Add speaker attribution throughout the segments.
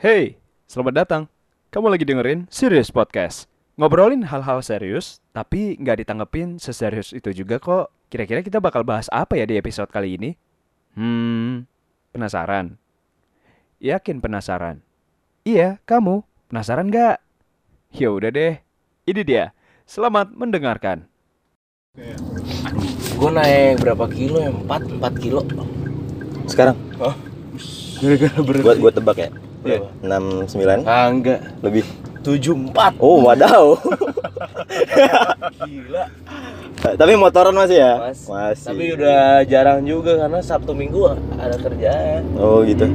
Speaker 1: Hey, selamat datang. Kamu lagi dengerin Serious Podcast. Ngobrolin hal-hal serius, tapi nggak ditanggepin seserius itu juga kok. Kira-kira kita bakal bahas apa ya di episode kali ini? Hmm, penasaran? Yakin penasaran? Iya, kamu. Penasaran nggak? Ya udah deh. Ini dia. Selamat mendengarkan.
Speaker 2: Gue naik berapa kilo ya? 4, 4 kilo
Speaker 3: Sekarang
Speaker 2: Gara-gara berat
Speaker 3: gua gua tebak ya.
Speaker 2: Iya.
Speaker 3: 69
Speaker 2: Ah enggak
Speaker 3: lebih.
Speaker 2: 74
Speaker 3: Oh, wadaw.
Speaker 2: Gila
Speaker 3: Eh, Tapi motoran masih ya?
Speaker 2: Mas,
Speaker 3: Masih.
Speaker 2: Tapi udah jarang juga karena Sabtu Minggu ada kerjaan
Speaker 3: Oh, gitu.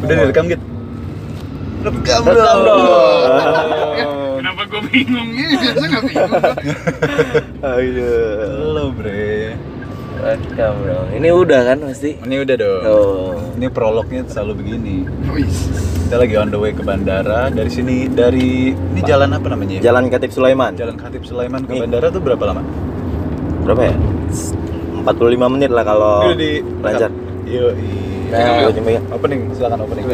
Speaker 4: Udah direkam gitu. Rekam
Speaker 2: Rekam
Speaker 5: Kenapa gue bingung ini biasa nggak bingung.
Speaker 3: Aduh.
Speaker 4: Lo bre.
Speaker 2: Rekam dong Ini udah kan pasti
Speaker 4: Ini udah dong.
Speaker 2: Oh
Speaker 4: Ini prolognya selalu begini.
Speaker 5: Wis.
Speaker 4: Kita lagi on the way ke bandara dari sini dari ini jalan apa namanya? ya?
Speaker 3: Jalan Katib Sulaiman.
Speaker 4: Jalan Khatib Sulaiman ke
Speaker 3: Nih.
Speaker 4: bandara tuh berapa lama?
Speaker 3: Berapa ya? 45 menit lah kalau lancar.
Speaker 4: Yo.
Speaker 2: Nah.
Speaker 3: Gua nyempein.
Speaker 4: Opening, silakan opening.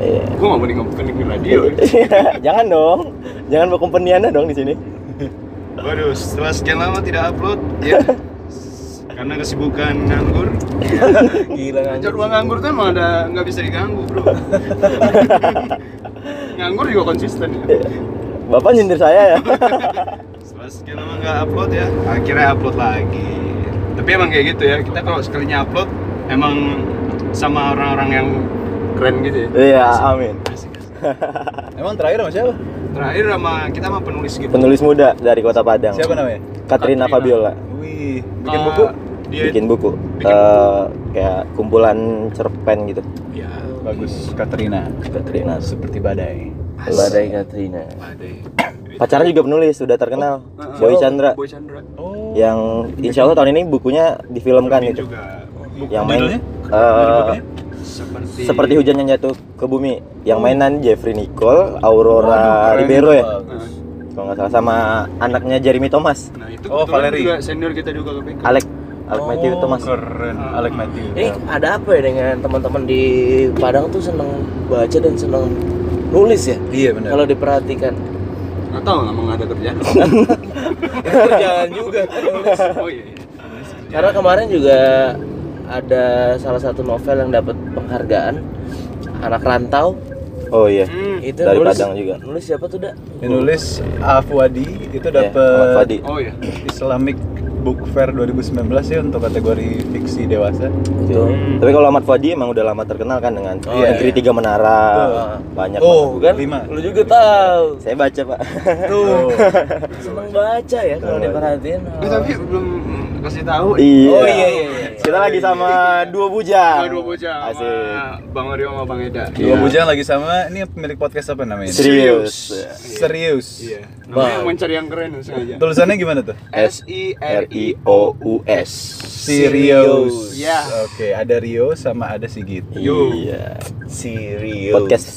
Speaker 3: Iya.
Speaker 5: Gue nggak mau ngomongin di radio. ya.
Speaker 3: Jangan dong. Jangan berkompeniannya dong di sini.
Speaker 5: Waduh, setelah sekian lama tidak upload, ya karena kesibukan nganggur.
Speaker 2: Gila nganggur.
Speaker 5: Jadwal nganggur tuh emang ada nggak bisa diganggu bro. nganggur juga konsisten. Ya.
Speaker 3: Bapak nyindir saya ya.
Speaker 5: Setelah sekian lama nggak upload ya, akhirnya upload lagi. Tapi emang kayak gitu ya, kita kalau sekalinya upload emang sama orang-orang yang keren gitu ya.
Speaker 3: Iya, amin.
Speaker 5: Asik, asik.
Speaker 4: Emang terakhir sama siapa?
Speaker 5: Terakhir sama kita sama penulis gitu.
Speaker 3: Penulis muda dari Kota Padang.
Speaker 4: Siapa namanya?
Speaker 3: Katrina
Speaker 5: Katrina.
Speaker 3: Fabiola.
Speaker 4: Wih,
Speaker 5: Eh,
Speaker 1: Ah. Iya.
Speaker 5: Dia
Speaker 3: Bikin buku.
Speaker 5: Bikin
Speaker 3: Eh, kayak kumpulan cerpen gitu.
Speaker 5: ya
Speaker 4: bagus Katrina.
Speaker 3: Katrina.
Speaker 4: Seperti badai.
Speaker 2: Badai Katrina
Speaker 5: badai.
Speaker 3: Pacarnya juga penulis, sudah terkenal. Boy Chandra.
Speaker 5: Boy Chandra.
Speaker 4: Oh.
Speaker 3: yang insya Allah tahun ini bukunya difilmkan
Speaker 5: Ini
Speaker 3: itu
Speaker 5: juga
Speaker 3: yang
Speaker 4: Judulnya?
Speaker 3: main
Speaker 4: Dari
Speaker 3: eh,
Speaker 4: bukunya?
Speaker 5: seperti
Speaker 3: seperti hujan yang jatuh ke bumi yang mainan Jeffrey Nicole Aurora Ribeiro ya
Speaker 4: Bagus.
Speaker 3: kalau nggak salah sama anaknya Jeremy Thomas
Speaker 5: Nah, itu
Speaker 4: Oh,
Speaker 5: oh,
Speaker 4: Valerie.
Speaker 5: juga senior kita juga ke PK.
Speaker 3: Alec Alec Iya, Matthew
Speaker 4: Oh,
Speaker 3: Thomas
Speaker 4: Keren, Alec Matthew.
Speaker 2: Ini ada apa ya dengan teman-teman di Padang tuh seneng baca dan seneng nulis ya?
Speaker 4: Iya benar.
Speaker 2: Kalau diperhatikan
Speaker 5: Enggak tahu emang nggak ada kerjaan.
Speaker 2: Itu kerjaan juga kan nulis.
Speaker 5: oh iya. iya.
Speaker 2: Karena kemarin juga ada salah satu novel yang dapat penghargaan anak rantau
Speaker 3: oh iya
Speaker 5: Hmm.
Speaker 2: itu
Speaker 3: Dari
Speaker 2: nulis,
Speaker 3: Padang juga.
Speaker 2: nulis siapa tuh dak
Speaker 4: Yang nulis Afwadi itu
Speaker 3: Iya, Ahmad
Speaker 4: dapat
Speaker 3: Fadi
Speaker 5: Oh iya.
Speaker 4: Islamic Book Fair 2019 ya untuk kategori fiksi dewasa.
Speaker 2: itu
Speaker 5: Hmm.
Speaker 3: tapi kalau Ahmad Fadi emang udah lama terkenal kan dengan
Speaker 2: Oh, iya.
Speaker 3: negeri tiga menara banyak
Speaker 4: Oh,
Speaker 2: bukan
Speaker 4: lima.
Speaker 2: Kan?
Speaker 4: Oh,
Speaker 2: lu juga tahu
Speaker 3: banget. saya baca pak
Speaker 4: Tuh.
Speaker 2: seneng baca ya kalau
Speaker 3: Seneng
Speaker 2: diperhatiin
Speaker 5: Eh, tapi belum kasih tahu.
Speaker 3: iya.
Speaker 2: oh iya iya iya.
Speaker 3: kita lagi sama dua
Speaker 5: Sama
Speaker 3: bujang
Speaker 5: dua bocah sama
Speaker 3: asik
Speaker 5: Bang Mario sama Bang Eda.
Speaker 1: Iya.
Speaker 4: Dua bujang lagi sama ini pemilik podcast apa namanya?
Speaker 3: Iya. serius
Speaker 4: Serius.
Speaker 5: Iya. Namanya
Speaker 2: Bang.
Speaker 5: mencari yang keren
Speaker 1: Iya.
Speaker 3: Iya.
Speaker 5: sengaja.
Speaker 4: Tulisannya gimana tuh?
Speaker 5: S I
Speaker 3: R
Speaker 5: R
Speaker 3: I
Speaker 5: I.
Speaker 3: O U S
Speaker 4: Serius.
Speaker 5: Iya.
Speaker 4: Oke, ada Rio sama ada Gitu. Sigit.
Speaker 5: Yo.
Speaker 3: Iya.
Speaker 2: serius
Speaker 3: Podcast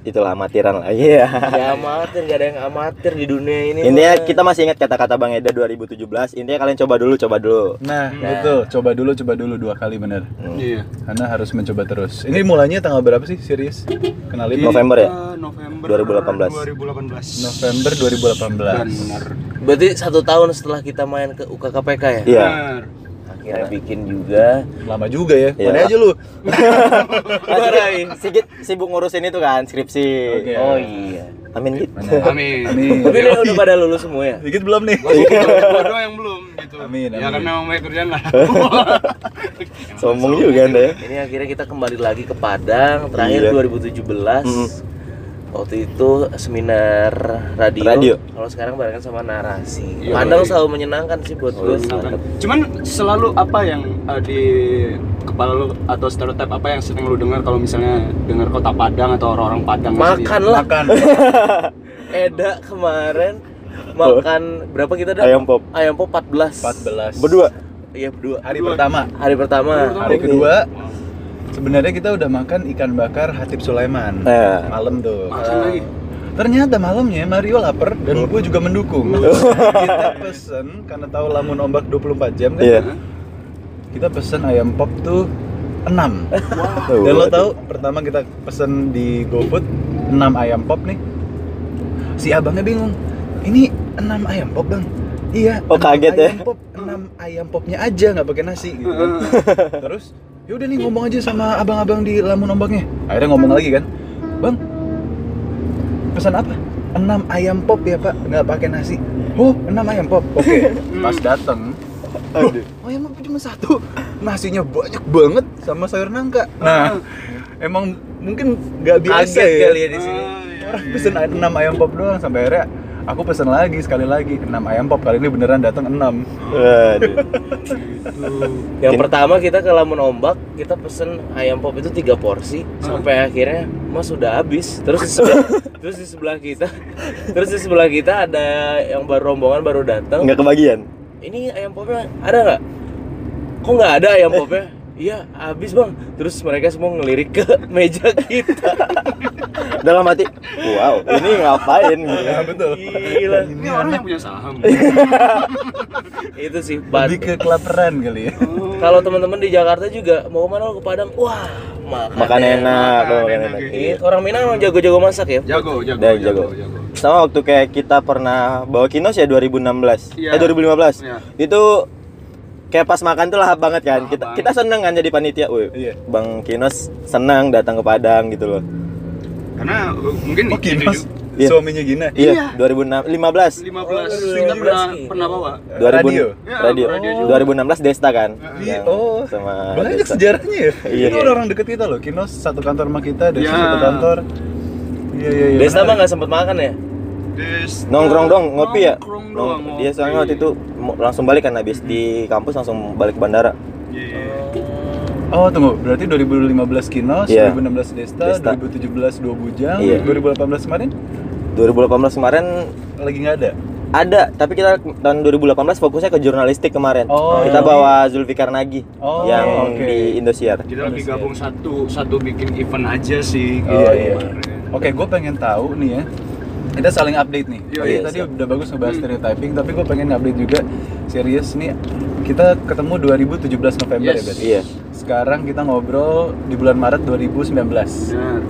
Speaker 3: itulah amatiran lah. Iya.
Speaker 2: ya amatir gak ada yang amatir di dunia ini
Speaker 3: Intinya
Speaker 2: mah.
Speaker 3: kita masih ingat kata-kata Bang Eda 2017. Intinya kalian coba dulu, coba dulu.
Speaker 2: Nah.
Speaker 4: Nah, betul. Coba dulu, coba dulu dua kali bener.
Speaker 3: Hmm.
Speaker 5: Iya.
Speaker 4: Karena harus mencoba terus. Ini mulanya tanggal berapa sih, serius? Kenalin
Speaker 3: November ya?
Speaker 5: Eh, November
Speaker 3: 2018.
Speaker 5: 2018.
Speaker 4: November 2018.
Speaker 5: Benar.
Speaker 2: berarti satu tahun setelah kita main ke UKKPK ya
Speaker 3: Iya.
Speaker 5: Benar.
Speaker 2: akhirnya bikin juga
Speaker 4: Lama juga ya.
Speaker 3: Iya.
Speaker 4: Mana aja lu?
Speaker 3: Masih Sigit sibuk ngurusin itu kan skripsi.
Speaker 4: Oke.
Speaker 2: oh iya
Speaker 3: Amin gitu.
Speaker 5: Amin.
Speaker 4: Amin.
Speaker 2: tapi ini udah pada lulus semua ya
Speaker 4: Sigit belum nih.
Speaker 5: Gua doang yang belum gitu.
Speaker 4: Amin,
Speaker 1: Iya,
Speaker 5: Ya
Speaker 4: amin.
Speaker 5: karena emang banyak kerjaan lah.
Speaker 3: Sombong juga Anda ya.
Speaker 2: Ini akhirnya kita kembali lagi ke Padang terakhir
Speaker 3: Iya.
Speaker 2: 2017.
Speaker 3: Mm.
Speaker 2: Waktu itu seminar radio.
Speaker 3: Radio.
Speaker 2: Kalau sekarang barengan sama narasi.
Speaker 5: Iya,
Speaker 2: Padang
Speaker 5: iya.
Speaker 2: selalu menyenangkan sih buat
Speaker 3: Oh,
Speaker 2: gue.
Speaker 3: iya.
Speaker 5: Silakan. Cuman selalu apa yang eh, di kepala lu atau stereotip apa yang sering lu dengar kalau misalnya dengar kota Padang atau orang-orang Padang
Speaker 2: Makan lah.
Speaker 4: Makan.
Speaker 2: Eda kemarin makan berapa kita dah?
Speaker 3: Ayam pop.
Speaker 2: Ayam pop 14.
Speaker 4: 14.
Speaker 3: Berdua.
Speaker 2: Iya berdua.
Speaker 4: Hari pertama.
Speaker 2: Hari pertama.
Speaker 4: Hari
Speaker 3: Oke.
Speaker 4: kedua sebenarnya kita udah makan ikan bakar Hatip Sulaiman.
Speaker 3: Eh.
Speaker 4: Malam tuh. Ah.
Speaker 5: Makan lagi.
Speaker 4: Ternyata malamnya Mario lapar dan gue juga mendukung.
Speaker 3: Iya.
Speaker 4: kita pesen karena tahu lamun ombak 24 jam kan.
Speaker 3: Iya.
Speaker 4: Kita pesen ayam pop tuh enam
Speaker 3: Tuh,
Speaker 4: Dan lo
Speaker 3: waduh.
Speaker 4: tahu pertama kita pesen di GoFood 6 ayam pop nih. Si abangnya bingung. Ini 6 ayam pop, Bang. Iya.
Speaker 3: Oh,
Speaker 4: enam
Speaker 3: kaget ya?
Speaker 4: ayam Pop, 6 ayam popnya aja nggak pakai nasi gitu kan. Terus ya udah nih ngomong aja sama abang-abang di lamun ombaknya. Akhirnya ngomong lagi kan. Bang. Pesan apa? 6 ayam pop ya, Pak. nggak pakai nasi. Oh, 6 ayam pop. Oke. Pas dateng
Speaker 3: Aduh.
Speaker 4: Oh emang cuma satu? Nasinya banyak banget sama sayur nangka. Nah, emang mungkin nggak biasa
Speaker 3: Kaget
Speaker 4: ya.
Speaker 3: kali ya di sini.
Speaker 5: Ah, iya,
Speaker 4: Orang
Speaker 5: iya.
Speaker 4: pesen 6 ayam pop doang sampai akhirnya aku pesen lagi sekali lagi 6 ayam pop kali ini beneran datang 6.
Speaker 3: Waduh.
Speaker 2: Yang
Speaker 3: Mungkin-
Speaker 2: pertama kita ke Lamun Ombak, kita pesen ayam pop itu tiga porsi sampai akhirnya mas sudah habis. Terus di sebelah, terus di sebelah kita, terus di sebelah kita ada yang baru rombongan baru datang.
Speaker 3: Nggak kebagian.
Speaker 2: Ini ayam popnya ada nggak? Kok nggak ada ayam popnya? Iya, habis bang. Terus mereka semua ngelirik ke meja kita.
Speaker 3: Dalam hati, wow, ini ngapain? gitu.
Speaker 4: Ya betul.
Speaker 2: Gila.
Speaker 5: Ini orang yang punya saham.
Speaker 2: Itu sih.
Speaker 4: Lebih
Speaker 2: Ban.
Speaker 4: ke kelaperan kali ya.
Speaker 2: Kalau teman-teman di Jakarta juga mau kemana? Mau ke Padang. Wah, makan, ya.
Speaker 3: Makan enak,
Speaker 5: makan
Speaker 3: makan
Speaker 5: enak,
Speaker 3: enak.
Speaker 5: gitu.
Speaker 2: Iya, orang Minang emang jago-jago masak ya.
Speaker 5: Jago, jago,
Speaker 3: Dah,
Speaker 5: jago,
Speaker 3: jago.
Speaker 5: jago.
Speaker 3: Sama waktu kayak kita pernah bawa kinos ya 2016.
Speaker 5: Iya.
Speaker 3: Eh 2015.
Speaker 5: Iya.
Speaker 3: Itu kayak pas makan tuh lahap banget kan.
Speaker 5: Lahap
Speaker 3: kita
Speaker 5: banget.
Speaker 3: kita seneng kan jadi panitia. Wih,
Speaker 4: Iya.
Speaker 3: Bang Kinos senang datang ke Padang gitu loh.
Speaker 5: Karena uh, mungkin
Speaker 4: Oke,
Speaker 5: ini
Speaker 4: Mas.
Speaker 5: juga.
Speaker 3: Iya.
Speaker 4: Suaminya Gina.
Speaker 3: Iya,
Speaker 2: Oh,
Speaker 3: 2015.
Speaker 5: 15 kita
Speaker 2: 15.
Speaker 5: pernah pernah bawa.
Speaker 3: 2000 radio.
Speaker 4: Radio.
Speaker 5: Iya,
Speaker 3: radio.
Speaker 5: radio
Speaker 3: 2016 Desta kan.
Speaker 4: Iya,
Speaker 3: Yang
Speaker 4: oh.
Speaker 3: sama
Speaker 4: Banyak
Speaker 3: Desta.
Speaker 4: sejarahnya ya.
Speaker 3: Iya.
Speaker 4: Ini orang-orang deket kita loh. Kinos satu kantor sama kita, Desa
Speaker 5: Iya.
Speaker 4: satu kantor. Iya iya iya.
Speaker 2: Desta mah
Speaker 4: menarik.
Speaker 2: nggak sempet makan ya?
Speaker 5: Des-
Speaker 3: Nongkrong dong, ngopi ya.
Speaker 5: Nongkrong doang.
Speaker 3: Nong- dia
Speaker 5: ngopi.
Speaker 3: soalnya waktu itu mo- langsung balik kan habis di kampus langsung balik ke bandara.
Speaker 5: Iya.
Speaker 4: Oh tunggu, berarti 2015 Kinos,
Speaker 3: Iya.
Speaker 4: 2016 Desta,
Speaker 3: Desta.
Speaker 4: 2017 Dua Bujang,
Speaker 3: Iya.
Speaker 4: 2018 kemarin
Speaker 3: 2018 kemarin
Speaker 4: lagi nggak ada.
Speaker 3: Ada, tapi kita tahun 2018 fokusnya ke jurnalistik kemarin.
Speaker 4: Oh,
Speaker 3: kita
Speaker 4: iya.
Speaker 3: bawa Zulfikar Nagi
Speaker 4: Oh,
Speaker 3: yang
Speaker 4: oke.
Speaker 3: di Indosiar.
Speaker 5: Kita lebih gabung satu satu bikin event aja sih.
Speaker 4: Oh,
Speaker 5: gitu
Speaker 4: iya.
Speaker 5: kemarin.
Speaker 4: Oke, gue pengen tahu nih ya. Kita saling update nih.
Speaker 5: Iya,
Speaker 4: Tadi-
Speaker 5: iya,
Speaker 4: tadi udah bagus ngebahas stereotyping, tapi gue pengen update juga. Serius nih, kita ketemu 2017 November ya
Speaker 5: Yes.
Speaker 4: berarti.
Speaker 3: Iya.
Speaker 4: Sekarang kita ngobrol di bulan Maret 2019.
Speaker 5: Benar.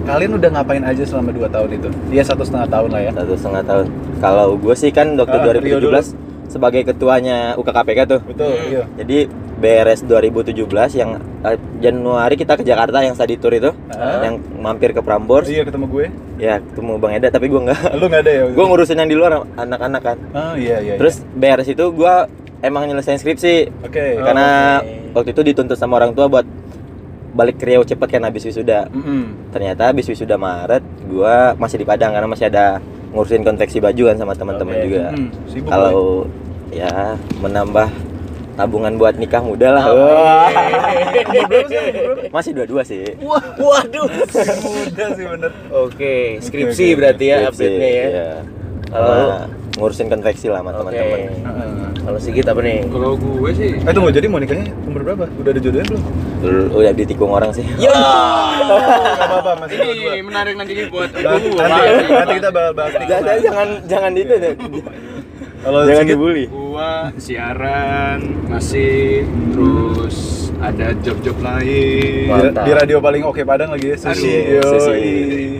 Speaker 4: Kalian udah ngapain aja selama 2 tahun itu? Iya satu setengah tahun lah ya.
Speaker 3: Satu setengah tahun. Kalau gue sih kan waktu
Speaker 4: Ah, Rio
Speaker 3: 2017 sebagai ketuanya UKKPK tuh.
Speaker 4: Betul. Iya.
Speaker 3: Jadi beres 2017 yang eh, Januari kita ke Jakarta yang study tour itu,
Speaker 4: Ah.
Speaker 3: yang mampir ke Prambors.
Speaker 4: Iya ketemu gue.
Speaker 3: Ya ketemu Bang Eda tapi gue nggak.
Speaker 4: Lu nggak ada ya? waktu
Speaker 3: gue
Speaker 4: itu?
Speaker 3: ngurusin yang di luar anak-anak kan.
Speaker 4: Oh iya iya. iya.
Speaker 3: Terus beres itu gue emang nyelesain skripsi.
Speaker 4: Oke.
Speaker 3: karena
Speaker 2: Oh, oke.
Speaker 3: waktu itu dituntut sama orang tua buat balik ke Riau cepet kan habis wisuda.
Speaker 4: Mm-mm.
Speaker 3: Ternyata habis wisuda Maret, gua masih di Padang karena masih ada ngurusin konveksi baju kan sama teman-teman
Speaker 2: Oke. Hmm.
Speaker 3: juga.
Speaker 4: Mm, sibuk lu
Speaker 3: Kalau ya menambah tabungan buat nikah muda lah.
Speaker 2: Oh.
Speaker 4: ya. Umur berapa sih? Umur berapa?
Speaker 3: Masih dua-dua sih.
Speaker 2: Wah, waduh.
Speaker 4: Muda Iya sih bener.
Speaker 2: Oke,
Speaker 4: Oke,
Speaker 2: skripsi
Speaker 4: oke,
Speaker 2: berarti ya
Speaker 3: Skripsi,
Speaker 2: update-nya ya.
Speaker 3: iya.
Speaker 2: Kalau-
Speaker 3: Sama ngurusin konveksi lah sama
Speaker 2: Oke.
Speaker 3: teman-teman. Hmm.
Speaker 4: Heeh.
Speaker 2: Kalau Sigit apa nih?
Speaker 5: Kalau gue sih
Speaker 4: Eh tunggu, jadi mau nikahnya umur berapa? Udah ada jodohnya
Speaker 3: Oh,
Speaker 4: belum?
Speaker 3: Dulu Udah ditikung orang sih.
Speaker 2: Ya.
Speaker 4: Gak apa-apa, masih dua-dua
Speaker 5: ini menarik nanti buat
Speaker 4: Nanti,
Speaker 5: gue.
Speaker 3: ya.
Speaker 4: nanti, nanti kita bakal bahas nikah
Speaker 3: Jangan jangan jangan itu deh.
Speaker 4: Kalau
Speaker 3: Jangan
Speaker 4: sedikit,
Speaker 3: dibully.
Speaker 5: Gua siaran masih terus ada job-job lain.
Speaker 4: di,
Speaker 2: Mantap.
Speaker 4: di radio paling oke Padang lagi ya, Susi
Speaker 3: Aduh, Iya. Susi.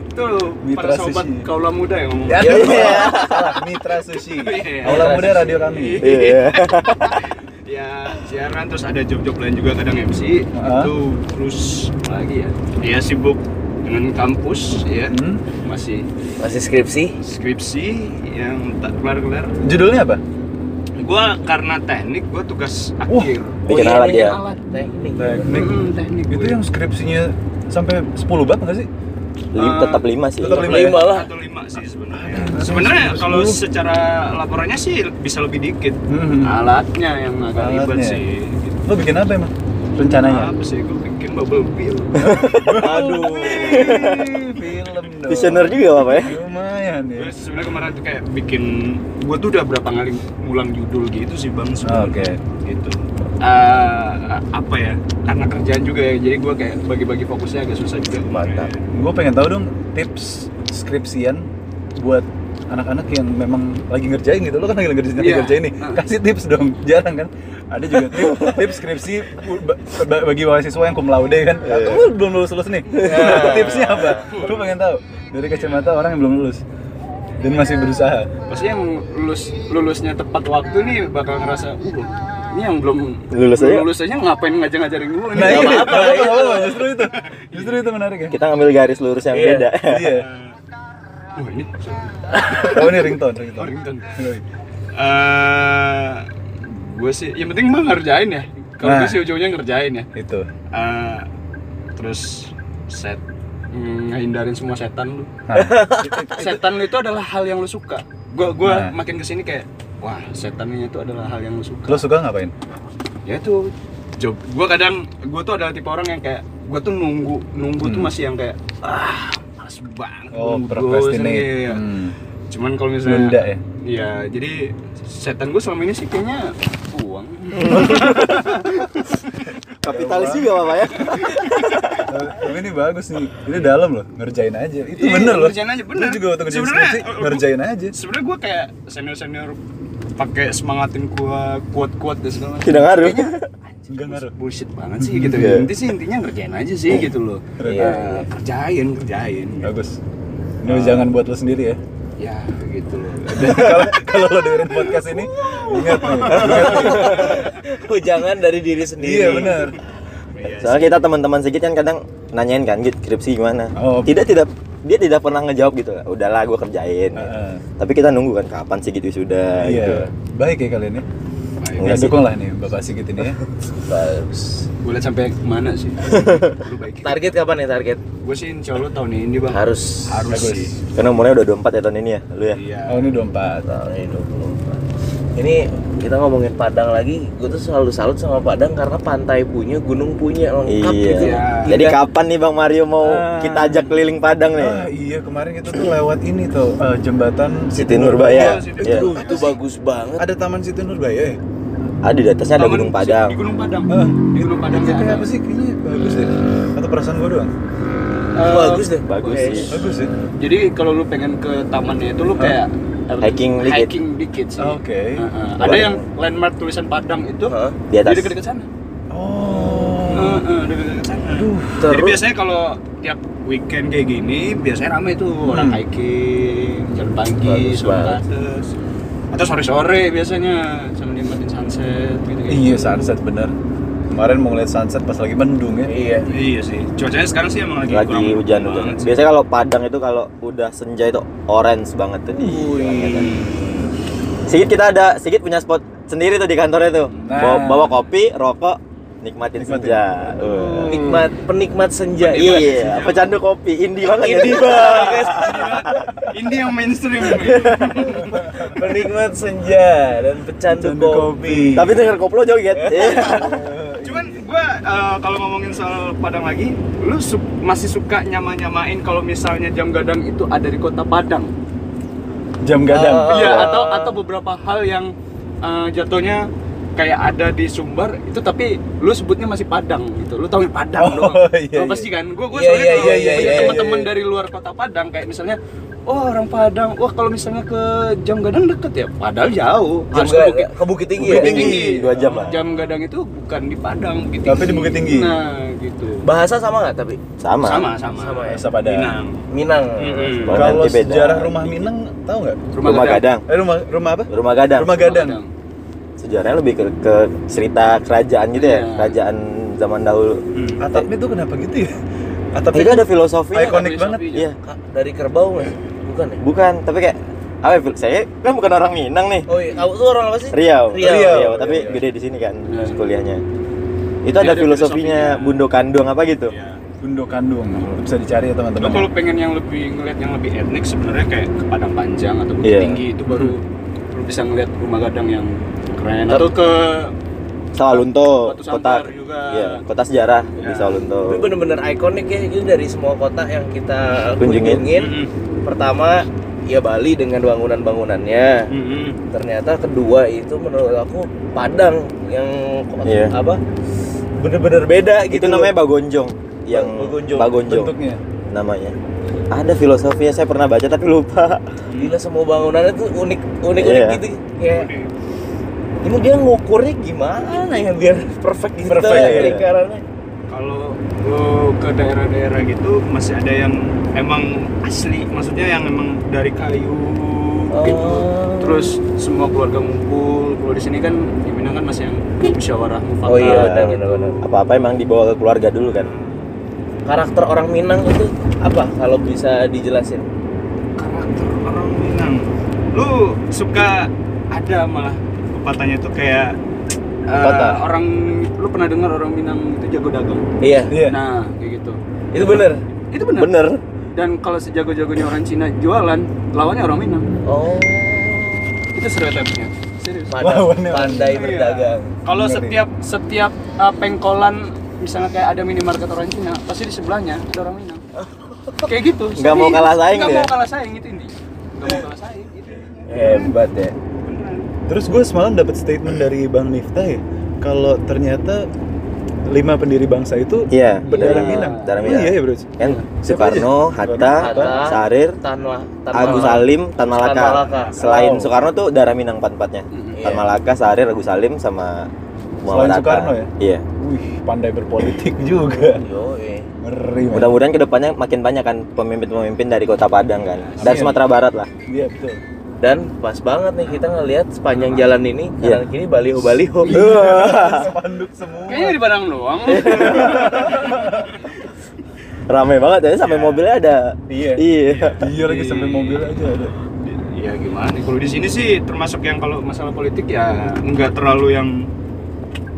Speaker 5: Itu loh, para
Speaker 4: Mitra
Speaker 5: sobat
Speaker 4: Susi.
Speaker 5: kaula muda yang ngomong.
Speaker 4: Ya,
Speaker 5: Iya.
Speaker 4: iya. Salah, Mitra Susi
Speaker 5: Iya.
Speaker 4: Aula Muda Radio kami
Speaker 3: Iya.
Speaker 5: Ya, siaran terus ada job-job lain juga kadang MC.
Speaker 4: Ah.
Speaker 5: Itu terus apa lagi ya. Dia sibuk dengan kampus ya.
Speaker 4: Hmm.
Speaker 5: Masih
Speaker 2: Masih skripsi?
Speaker 5: skripsi yang tak kelar-kelar.
Speaker 4: Judulnya apa?
Speaker 5: Gua karena teknik gua tugas akhir.
Speaker 3: Bikin
Speaker 2: iya,
Speaker 3: alat ya.
Speaker 2: bikin
Speaker 3: dia.
Speaker 2: alat. Teknik.
Speaker 4: Teknik
Speaker 5: Mm, teknik
Speaker 4: Itu
Speaker 5: gue.
Speaker 4: yang skripsinya sampai 10 bab nggak sih?
Speaker 3: Lim- tetap lima sih.
Speaker 4: Tetap lima.
Speaker 2: Lima lah.
Speaker 5: atau lima sih sebenarnya. Sebenarnya kalau secara laporannya sih bisa lebih dikit.
Speaker 4: Hmm.
Speaker 5: Alatnya yang agak ribet
Speaker 4: Alatnya. Nah, ya.
Speaker 5: sih. Gitu.
Speaker 4: Lo bikin apa emang? Rencananya?
Speaker 5: Apa sih gue bikin bubble bill?
Speaker 4: Aduh Film dong
Speaker 3: Visioner juga apa ya?
Speaker 4: Lumayan ya
Speaker 5: Gue sebenarnya kemarin tuh kayak bikin gue tuh udah berapa kali ngulang judul gitu sih bang sebenarnya.
Speaker 4: Oke.
Speaker 5: Gitu. Eh, apa ya? Karena kerjaan juga ya. Jadi gue kayak bagi-bagi fokusnya agak susah juga.
Speaker 2: Mantap.
Speaker 4: Gue pengen tahu dong tips skripsian buat anak-anak yang memang lagi ngerjain gitu lo kan lagi ngerjain
Speaker 5: Iya.
Speaker 4: ngerjain nih kasih tips dong jarang kan ada juga tips, tips skripsi ba- ba- bagi mahasiswa yang cum laude kan
Speaker 5: Iya,
Speaker 4: kamu belum lulus lulus nih tipsnya apa lo pengen tahu dari kacamata orang yang belum lulus dan masih berusaha
Speaker 5: Pasti yang lulus lulusnya tepat waktu nih bakal ngerasa, uh, ini yang belum
Speaker 3: Lulus
Speaker 5: belum
Speaker 3: aja."
Speaker 5: lulus aja ngapain ngajar-ngajarin gue nih?
Speaker 4: nah ini
Speaker 3: Nggak apa-apa,
Speaker 4: nggak apa-apa, Oh, justru itu justru itu menarik ya
Speaker 3: Kita ngambil garis lurus yang
Speaker 2: Iya.
Speaker 3: beda.
Speaker 4: iya
Speaker 5: Wah, ini
Speaker 4: oh ini ringtone ringtone
Speaker 5: Warrington. Eh, gue sih, yang penting mah ngerjain ya. Kalau
Speaker 4: Nah.
Speaker 5: gue sih ujungnya ngerjain ya.
Speaker 4: itu
Speaker 5: Eh, terus set mm, ngehindarin semua setan lu.
Speaker 4: Nah,
Speaker 5: Setan lu itu adalah hal yang lu suka. Gua gua
Speaker 4: Nah.
Speaker 5: makin kesini kayak wah setannya itu adalah hal yang lu suka.
Speaker 4: lo suka ngapain
Speaker 5: Ya itu job. Gua kadang gua tuh adalah tipe orang yang kayak gua tuh nunggu nunggu tuh
Speaker 4: Hmm.
Speaker 5: masih yang kayak ah males banget.
Speaker 4: oh
Speaker 5: nunggu dosen." Iya,
Speaker 4: procrastinate
Speaker 5: iya.
Speaker 4: hmm.
Speaker 5: Cuman kalau misalnya
Speaker 4: Nunda ya
Speaker 5: Iya, jadi setan gue selama ini sih kayaknya uang.
Speaker 4: Hmm.
Speaker 3: Kapitalis juga apa ya?
Speaker 4: Tapi ini bagus nih. Ini dalam loh, ngerjain aja. Itu
Speaker 5: Iya,
Speaker 4: bener loh.
Speaker 5: ngerjain aja,
Speaker 4: Lu
Speaker 5: bener.
Speaker 4: juga waktu ngerjain
Speaker 5: Sebenarnya,
Speaker 4: skripsi,
Speaker 5: eh, gua-
Speaker 4: ngerjain aja.
Speaker 5: Sebenarnya gue kayak senior senior pakai semangatin gua kuat kuat dan segala macam.
Speaker 3: Tidak ngaruh.
Speaker 4: Enggak ngaruh. Iya.
Speaker 5: Bullshit banget sih gitu. Inti sih intinya ngerjain aja sih gitu loh.
Speaker 4: Keren.
Speaker 5: Iya, kerjain kerjain.
Speaker 4: Bagus. Ini jangan buat lo sendiri ya.
Speaker 5: Ya gitu loh.
Speaker 4: Kalau kalau lo dengerin podcast ini, ingat nih. ingat nih.
Speaker 2: Jangan dari diri sendiri.
Speaker 4: Iya bener.
Speaker 3: Soalnya kita teman-teman sedikit kan kadang nanyain kan, "Git, skripsi gimana?"
Speaker 4: Oh.
Speaker 3: Tidak tidak dia tidak pernah ngejawab gitu. Udahlah gua kerjain.
Speaker 4: Heeh.
Speaker 3: Tapi kita nunggu kan kapan sih gitu sudah gitu.
Speaker 4: Iya. Baik ya kalian ya.
Speaker 3: Enggak
Speaker 4: Enggak
Speaker 3: sih.
Speaker 4: dukung lah nih Bapak Sigit ini ya. Bagus.
Speaker 5: Gue liat sampai mana sih? Lu baik.
Speaker 2: Target kapan ya target?
Speaker 5: Gue sih insya Allah tahun ini bang.
Speaker 2: Harus.
Speaker 5: Harus
Speaker 4: Bagus.
Speaker 5: sih.
Speaker 3: Karena umurnya udah 24 ya tahun ini ya, lu ya.
Speaker 5: Iya.
Speaker 4: Oh ini 24.
Speaker 2: Tahun Nah, ini 24. Ini kita ngomongin Padang lagi, gue tuh selalu salut sama Padang karena pantai punya, gunung punya, lengkap
Speaker 3: Iya.
Speaker 2: gitu.
Speaker 5: Iya.
Speaker 3: Jadi kapan nih Bang Mario mau
Speaker 4: Ah.
Speaker 3: kita ajak keliling Padang nih?
Speaker 4: Ah iya kemarin kita tuh lewat ini tuh eh, jembatan
Speaker 3: Siti Nurbaya.
Speaker 5: Iya, Siti
Speaker 3: Iya.
Speaker 2: Aduh, itu bagus banget.
Speaker 4: Ada Taman Siti Nurbaya ya?
Speaker 3: Ada Iya. Ah, di atasnya ada
Speaker 5: Taman-
Speaker 3: Gunung Padang.
Speaker 5: Di Gunung Padang.
Speaker 4: Ah,
Speaker 5: Di Gunung Padang
Speaker 4: Itu
Speaker 5: nggak
Speaker 4: kayak
Speaker 5: ada.
Speaker 4: apa sih? Kayaknya bagus deh. Atau perasaan gua doang?
Speaker 5: Eh,
Speaker 2: bagus deh.
Speaker 3: Bagus
Speaker 2: Oke.
Speaker 3: sih.
Speaker 4: Bagus ya.
Speaker 5: Jadi kalau lu pengen ke tamannya itu lu kayak apa-
Speaker 3: Hiking dikit.
Speaker 5: hiking dikit sih.
Speaker 4: Oke.
Speaker 5: Heeh. Ada yang landmark tulisan Padang itu
Speaker 2: Hah?
Speaker 3: Di atas.
Speaker 5: Jadi dekat-dekat sana.
Speaker 4: Oh.
Speaker 5: Heeh, dekat-dekat sana. Jadi
Speaker 2: Terus?
Speaker 5: biasanya kalau tiap weekend kayak gini biasanya rame tuh orang hiking, jalan pagi,
Speaker 2: Hmm. Bagus
Speaker 5: sore
Speaker 2: banget.
Speaker 5: atas. Atau sore-sore biasanya sama nikmatin sunset gitu
Speaker 4: Iya sunset bener. Kemarin mau ngeliat sunset pas lagi mendung ya.
Speaker 2: Iya.
Speaker 5: Iya sih. Cuacanya sekarang sih emang lagi
Speaker 3: Lagi
Speaker 5: Iya, kurang
Speaker 3: hujan-hujan.
Speaker 5: banget sih.
Speaker 3: Biasanya kalau Padang itu kalau udah senja itu orange banget tuh di langitnya. Sigit kita ada Sigit punya spot sendiri tuh di kantornya tuh.
Speaker 4: Nah.
Speaker 3: Bawa, bawa kopi, rokok, nikmatin,
Speaker 4: Nikmatin.
Speaker 3: senja. Wah.
Speaker 2: Nikmat penikmat senja.
Speaker 3: Iya, pecandu kopi, indie banget ya.
Speaker 2: Ini bagus.
Speaker 5: Ini yang mainstream.
Speaker 2: penikmat senja dan pecandu
Speaker 4: Candu
Speaker 2: kopi.
Speaker 4: kopi.
Speaker 3: Tapi denger koplo jauh gitu.
Speaker 5: Cuman gua eh, kalau ngomongin soal Padang lagi, lu su- masih suka nyama-nyamain kalau misalnya jam gadang itu ada di kota Padang.
Speaker 4: jam gadang.
Speaker 5: Iya, atau atau beberapa hal yang eh, jatuhnya kayak ada di Sumbar itu tapi lu sebutnya masih Padang gitu. Lu tahu Padang
Speaker 4: Oh,
Speaker 5: doang.
Speaker 4: iya, iya.
Speaker 5: Lu pasti kan. Gua gua
Speaker 4: Iya,
Speaker 5: soalnya
Speaker 4: iya,
Speaker 5: kalau
Speaker 4: iya, iya,
Speaker 5: punya
Speaker 4: iya,
Speaker 5: teman-teman
Speaker 4: iya.
Speaker 5: dari luar kota Padang kayak misalnya Oh orang Padang, wah kalau misalnya ke Jam Gadang deket ya, padahal jauh.
Speaker 2: Jam
Speaker 5: Harus ke
Speaker 2: ga-
Speaker 5: Bukit-
Speaker 2: ke Bukit Tinggi
Speaker 5: Bukit
Speaker 2: ya.
Speaker 4: Iya,
Speaker 5: Tinggi.
Speaker 3: dua jam lah.
Speaker 5: Jam Gadang itu bukan di Padang, Bukit
Speaker 4: Tapi di Bukit Tinggi.
Speaker 5: Nah, gitu.
Speaker 2: Bahasa sama nggak tapi?
Speaker 3: Sama.
Speaker 5: Sama, sama.
Speaker 2: Sama ya.
Speaker 4: Bahasa Padang.
Speaker 5: Minang. Hmm.
Speaker 2: Minang.
Speaker 4: Hmm.
Speaker 5: Mm-mm.
Speaker 3: Kalau
Speaker 4: Kalau
Speaker 3: nanti beda.
Speaker 4: sejarah rumah Minang tahu nggak?
Speaker 3: Rumah, gadang.
Speaker 4: Eh rumah rumah apa?
Speaker 3: Rumah gadang.
Speaker 4: Rumah gadang.
Speaker 3: Sejarahnya lebih ke, ke cerita kerajaan gitu ya,
Speaker 5: Iya.
Speaker 3: kerajaan zaman dahulu.
Speaker 5: Hmm.
Speaker 4: Atapnya tuh kenapa gitu ya? Atapnya
Speaker 3: Itu ada filosofi.
Speaker 4: Ah, ikonik banget.
Speaker 3: Iya.
Speaker 2: Kak, dari kerbau nggak? Bukan ya?
Speaker 3: Bukan, tapi kayak apa ya, saya kan bukan orang Minang nih.
Speaker 2: Oh iya, kamu tuh orang apa sih?
Speaker 3: Riau.
Speaker 2: Riau. iya,
Speaker 3: tapi
Speaker 4: Riau.
Speaker 3: gede di sini kan
Speaker 5: Iya.
Speaker 3: kuliahnya. Itu
Speaker 5: Dia
Speaker 3: ada,
Speaker 5: ada
Speaker 3: filosofinya
Speaker 5: filosofinya.
Speaker 3: Bundo Kandung apa gitu.
Speaker 5: Iya.
Speaker 4: Bundo kan Kandung. Bisa dicari ya
Speaker 5: Lu kalau
Speaker 4: teman-teman.
Speaker 5: pengen yang lebih ngelihat yang lebih etnik sebenarnya kayak ke Padang Panjang atau Bukit
Speaker 3: Iya.
Speaker 5: Tinggi itu baru lu bisa ngelihat rumah gadang yang keren atau ke
Speaker 3: Sawalunto,
Speaker 5: Batu
Speaker 3: kota
Speaker 5: Sangkar juga.
Speaker 3: Iya, kota sejarah di
Speaker 5: Iya.
Speaker 3: Sawalunto.
Speaker 2: Tapi bener-bener ikonik ya itu dari semua kota yang kita
Speaker 3: Kunjungin.
Speaker 2: kunjungin. Pertama, ya Bali dengan bangunan-bangunannya.
Speaker 5: Mm-mm.
Speaker 2: Ternyata kedua itu menurut aku Padang yang kota-
Speaker 3: Iya.
Speaker 2: apa? Bener-bener beda
Speaker 3: Itu
Speaker 2: gitu.
Speaker 3: namanya Bagonjong yang
Speaker 2: Bagonjong.
Speaker 3: Bagonjong
Speaker 4: Bentuknya.
Speaker 3: namanya. Ada filosofinya saya pernah baca tapi lupa.
Speaker 2: Gila semua bangunannya tuh unik unik unik
Speaker 3: Iya.
Speaker 2: gitu. Kayak ini dia ngukurnya gimana ya biar perfect gitu
Speaker 3: Perfect, iya.
Speaker 2: lingkarannya.
Speaker 5: Kalau lo ke daerah-daerah gitu masih ada yang emang asli, maksudnya yang emang dari kayu gitu.
Speaker 2: Oh.
Speaker 5: Terus semua keluarga ngumpul. Kalau di sini kan di Minang kan masih yang musyawarah mufakat.
Speaker 2: Oh iya benar
Speaker 3: gitu.
Speaker 2: benar benar.
Speaker 3: Apa-apa emang dibawa ke keluarga dulu kan.
Speaker 2: Karakter orang Minang itu apa kalau bisa dijelasin?
Speaker 5: Karakter orang Minang. Lu suka ada malah pepatahnya tuh kayak eh,
Speaker 3: Pepatah?
Speaker 5: orang lu pernah dengar orang Minang itu jago dagang.
Speaker 2: Iya.
Speaker 5: Nah, kayak gitu.
Speaker 2: Itu benar.
Speaker 5: Itu benar.
Speaker 2: Nah.
Speaker 3: Bener.
Speaker 5: Dan kalau sejago-jagonya orang Cina jualan, lawannya orang Minang.
Speaker 2: Oh.
Speaker 5: Itu stereotipnya. Serius.
Speaker 2: Pandai,
Speaker 4: Lawannya.
Speaker 2: pandai
Speaker 5: Iya.
Speaker 2: berdagang.
Speaker 5: Kalau
Speaker 4: Bener
Speaker 5: setiap setiap uh, pengkolan misalnya kayak ada minimarket orang Cina, pasti di sebelahnya ada orang Minang. kayak gitu.
Speaker 3: Nggak mau kalah saing
Speaker 5: Gak
Speaker 3: dia.
Speaker 5: mau kalah saing itu intinya. Gak mau kalah saing itu.
Speaker 2: Hebat ya.
Speaker 4: Terus gue semalam dapat statement dari Bang Miftah ya, kalau ternyata lima pendiri bangsa itu
Speaker 3: Iya.
Speaker 4: berdarah
Speaker 2: Iya,
Speaker 4: Minang.
Speaker 3: darah
Speaker 4: Oh
Speaker 3: Minang.
Speaker 4: iya ya bro.
Speaker 3: Kan
Speaker 4: Siapa
Speaker 3: Soekarno,
Speaker 4: aja?
Speaker 3: Hatta,
Speaker 2: Hatta,
Speaker 3: Sarir,
Speaker 2: Tanlah. Tan
Speaker 3: Agus
Speaker 2: Malaka.
Speaker 3: Salim, Tan Malaka.
Speaker 2: Tan Malaka.
Speaker 3: Selain
Speaker 2: Wow.
Speaker 3: Soekarno tuh darah Minang empat-empatnya.
Speaker 5: Mm-mm.
Speaker 3: Tan
Speaker 2: Iya.
Speaker 3: Malaka, Sarir, Agus Salim sama Muhammad Hatta.
Speaker 4: Soekarno ya?
Speaker 3: Iya.
Speaker 4: Wih, pandai berpolitik juga.
Speaker 2: Yoi.
Speaker 4: Ngeri. men.
Speaker 3: Mudah-mudahan kedepannya makin banyak kan pemimpin-pemimpin dari Kota Padang kan dan
Speaker 4: Amin.
Speaker 3: Sumatera Barat lah.
Speaker 4: Iya betul.
Speaker 2: Dan pas banget nih kita ngelihat sepanjang jalan ini
Speaker 3: Iya.
Speaker 2: kanan kiri baliho-baliho.
Speaker 4: Spanduk semua.
Speaker 5: Kayaknya di Padang doang.
Speaker 3: Ramai banget ya sampai mobilnya ada.
Speaker 4: Iya.
Speaker 3: Iya.
Speaker 4: Iya lagi sampai mobil aja ada.
Speaker 5: ya gimana? Kalau di sini sih termasuk yang kalau masalah politik ya nggak terlalu yang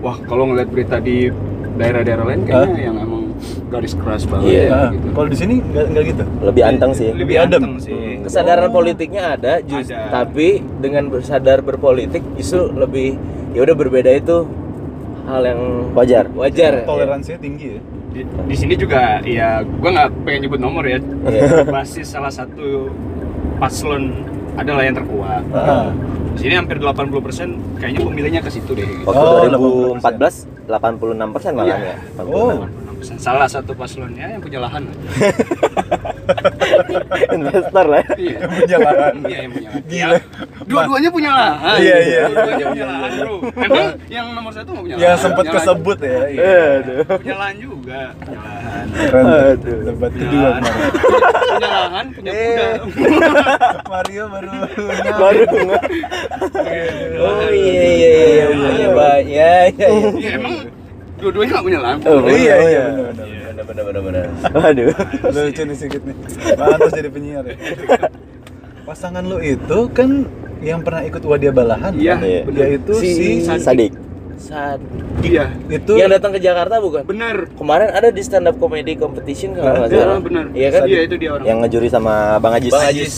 Speaker 5: wah kalau ngeliat berita di daerah-daerah lain kayaknya yang emang garis keras
Speaker 3: Iya.
Speaker 5: banget ya,
Speaker 4: Nah,
Speaker 5: gitu.
Speaker 4: kalau di sini nggak nggak gitu.
Speaker 3: Lebih anteng sih.
Speaker 5: Lebih
Speaker 4: adem.
Speaker 5: adem sih.
Speaker 2: Iya. Kesadaran politiknya ada, just,
Speaker 5: Ada.
Speaker 2: tapi dengan bersadar berpolitik justru lebih ya udah berbeda itu hal yang
Speaker 3: Wajar.
Speaker 2: Wajar.
Speaker 4: Toleransinya tinggi ya.
Speaker 5: di, di sini juga ya gua nggak pengen nyebut nomor ya
Speaker 2: Iya.
Speaker 5: basis salah satu paslon adalah yang terkuat
Speaker 4: Ah.
Speaker 5: di sini hampir 80% kayaknya pemilihnya ke situ deh gitu.
Speaker 3: Waktu
Speaker 4: Oh,
Speaker 3: 2014 86 persen malah
Speaker 5: Iya.
Speaker 3: ya. 86.
Speaker 4: Oh.
Speaker 5: 86%. salah satu paslonnya yang punya lahan
Speaker 3: Investor lah. ya.
Speaker 5: iya
Speaker 4: Punya lahan.
Speaker 5: Iya, yang punya lahan. Ya, dua-duanya punya lahan
Speaker 4: Iya, iya.
Speaker 5: dua-duanya punya lahan bro emang yang nomor satu nggak punya
Speaker 4: Ya
Speaker 5: lahan
Speaker 4: sempat
Speaker 5: Punya lahan-
Speaker 4: kesebut ya. Iya.
Speaker 3: Aduh.
Speaker 5: punya lahan juga punya lahan
Speaker 4: Keren.
Speaker 3: Aduh.
Speaker 4: Debat
Speaker 5: punya
Speaker 4: kedua
Speaker 5: lahan
Speaker 4: kemarin.
Speaker 5: punya lahan punya kuda
Speaker 4: Mario baru
Speaker 3: Baru nge-
Speaker 2: Oh iya iya iya iya punya banyak. Iya iya.
Speaker 5: Iya, emang dua-duanya nggak punya lahan
Speaker 3: Oh,
Speaker 4: Iya
Speaker 3: bener.
Speaker 4: iya benar
Speaker 2: iya. Bener bener bener bener.
Speaker 3: Waduh.
Speaker 4: benar. Lucu nih sedikit nih. Pantas jadi penyiar ya. Pasangan lu itu kan yang pernah ikut Wadia Balahan
Speaker 5: iya
Speaker 4: kan?
Speaker 3: Iya.
Speaker 5: bener.
Speaker 4: Yaitu
Speaker 2: Si-
Speaker 4: si,
Speaker 3: Sadik.
Speaker 2: Saat
Speaker 5: iya
Speaker 4: itu
Speaker 2: yang datang ke Jakarta bukan?
Speaker 5: benar
Speaker 2: Kemarin ada di stand up comedy competition kalau nggak
Speaker 5: Iya
Speaker 2: salah.
Speaker 5: benar.
Speaker 2: Iya kan?
Speaker 5: Iya itu dia orang.
Speaker 3: Yang ngejuri sama Bang Ajis.
Speaker 2: Bang Ajis.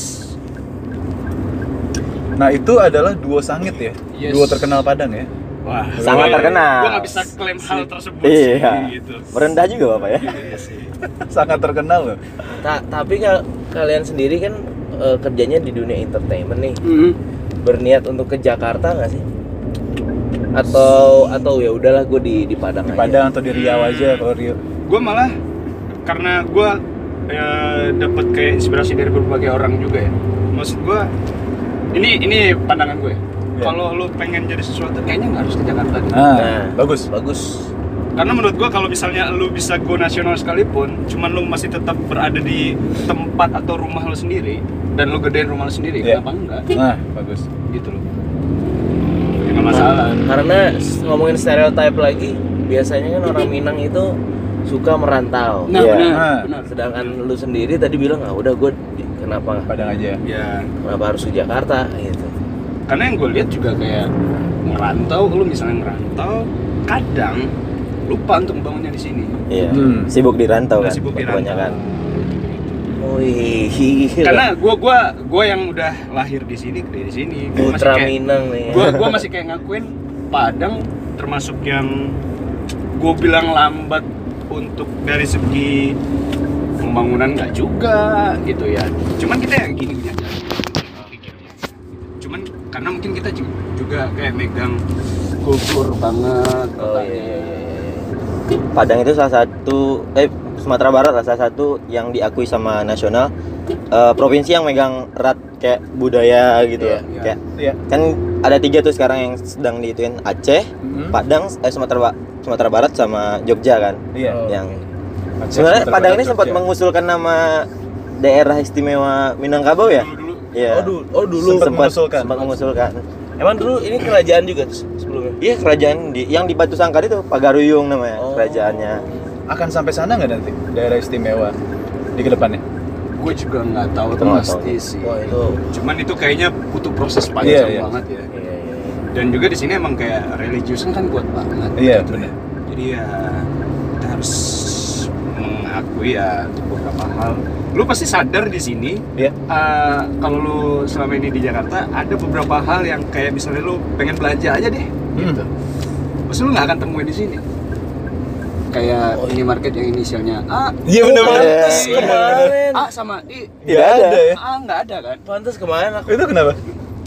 Speaker 4: Nah itu adalah duo sangit ya,
Speaker 5: Yes.
Speaker 4: duo terkenal Padang ya.
Speaker 5: Wah,
Speaker 3: Sangat
Speaker 5: gua-
Speaker 3: terkenal.
Speaker 5: Gua nggak bisa klaim hal tersebut
Speaker 3: Iya.
Speaker 5: sih, gitu.
Speaker 3: Merendah juga Bapak ya.
Speaker 5: Iya sih.
Speaker 4: Sangat terkenal loh.
Speaker 2: Ta- tapi ka- kalian sendiri kan eh, kerjanya di dunia entertainment nih.
Speaker 5: Mm-mm.
Speaker 2: berniat untuk ke Jakarta nggak sih? Atau atau ya udahlah gue di di Padang
Speaker 4: Di
Speaker 5: Oh,
Speaker 2: aja.
Speaker 5: iya?
Speaker 4: Padang atau di Riau
Speaker 3: Hmm.
Speaker 4: aja kalau Riau.
Speaker 5: Gua malah karena gua eh, dapat kayak inspirasi dari berbagai orang juga ya. Maksud gua ini ini pandangan gue.
Speaker 4: Iya.
Speaker 5: Kalau lu pengen jadi sesuatu kayaknya nggak harus ke Jakarta. deh.
Speaker 4: Ah,
Speaker 2: Nah.
Speaker 4: bagus.
Speaker 2: Bagus.
Speaker 5: Karena menurut gua kalau misalnya lu bisa go nasional sekalipun, cuman lu masih tetap berada di tempat atau rumah lu sendiri dan lu gedein rumah lu sendiri,
Speaker 4: Iya.
Speaker 5: kenapa enggak?
Speaker 4: Nah, bagus. Iya.
Speaker 5: Gitu loh. Ya, nggak masalah.
Speaker 2: Karena s- ngomongin stereotype lagi, biasanya kan orang Minang itu suka merantau.
Speaker 5: Nah,
Speaker 3: Iya.
Speaker 4: Nah.
Speaker 5: benar, benar.
Speaker 2: Sedangkan lu sendiri tadi bilang ah udah gue kenapa
Speaker 4: Padang aja.
Speaker 5: Ya,
Speaker 2: kenapa harus ke Jakarta gitu.
Speaker 5: karena yang gue lihat juga kayak ngerantau, lu misalnya ngerantau, kadang lupa untuk membangunnya di sini.
Speaker 3: Iya.
Speaker 4: Hmm.
Speaker 3: Sibuk di rantau
Speaker 5: Nggak
Speaker 3: kan.
Speaker 5: sibuk di
Speaker 3: kebanyakan. Iya kan?
Speaker 5: rantau.
Speaker 2: Oh, Wih. iya.
Speaker 5: Karena gue gua gua yang udah lahir di sini, gede di sini. Gua masih
Speaker 2: putra
Speaker 5: kayak-
Speaker 2: Minang nih.
Speaker 5: gua gua masih kayak ngakuin Padang termasuk yang gue bilang lambat untuk dari segi pembangunan nggak juga gitu ya cuman kita yang gini gini aja pikirnya. cuman karena mungkin kita ju- juga kayak megang kultur banget
Speaker 2: Oh
Speaker 5: kotanya.
Speaker 2: iya. iya, iya, iya.
Speaker 3: Padang itu salah satu eh Sumatera Barat lah salah satu yang diakui sama nasional eh, provinsi yang megang erat kayak budaya gitu
Speaker 2: Iya,
Speaker 3: loh.
Speaker 5: iya.
Speaker 3: Kayak
Speaker 4: Iya.
Speaker 3: kan ada tiga tuh sekarang yang sedang diituin Aceh, Padang, eh, Sumatera Ba- Sumatera Barat sama Jogja kan.
Speaker 4: Iya.
Speaker 2: Oh,
Speaker 3: yang
Speaker 4: Aceh,
Speaker 3: sebenarnya
Speaker 4: Sumatera
Speaker 3: Padang
Speaker 4: Barat,
Speaker 3: ini sempat
Speaker 4: Jogja.
Speaker 3: mengusulkan nama daerah istimewa Minangkabau ya?
Speaker 5: Dulu-dulu.
Speaker 3: Iya.
Speaker 2: Oh, dulu, oh, dulu.
Speaker 4: Sempat
Speaker 3: sempat
Speaker 4: mengusulkan.
Speaker 3: sempat mengusulkan.
Speaker 2: Emang dulu ini kerajaan juga tuh sebelumnya.
Speaker 3: Iya kerajaan di yang di Batu Sangkar itu Pagaruyung namanya
Speaker 2: Oh.
Speaker 3: kerajaannya.
Speaker 5: iya,
Speaker 4: akan sampai sana nggak nanti daerah istimewa di kedepannya?
Speaker 5: Gue juga nggak tahu
Speaker 3: Kita nggak
Speaker 5: pasti sih.
Speaker 2: Wah, itu.
Speaker 5: Cuman itu kayaknya butuh proses
Speaker 4: Iya,
Speaker 5: panjang
Speaker 4: iya.
Speaker 5: banget ya.
Speaker 2: Iya, iya.
Speaker 5: Dan juga di sini emang kayak religiusan kan kuat banget.
Speaker 4: Iya benar.
Speaker 5: Jadi ya kita harus mengakui ya untuk beberapa hal. Lu pasti sadar di sini.
Speaker 4: Iya.
Speaker 5: eh, kalau lu selama ini di Jakarta ada beberapa hal yang kayak misalnya lu pengen belanja aja deh.
Speaker 4: Hmm.
Speaker 5: Gitu. Pasti lu nggak akan temuin di sini. Kayak minimarket yang inisialnya A,
Speaker 3: Ya,
Speaker 4: Iya benar
Speaker 2: Pantes
Speaker 5: Iya.
Speaker 2: kemarin.
Speaker 5: A sama I.
Speaker 3: Tidak ada.
Speaker 5: A nggak ada kan?
Speaker 2: Pantes kemarin aku.
Speaker 4: Itu kenapa?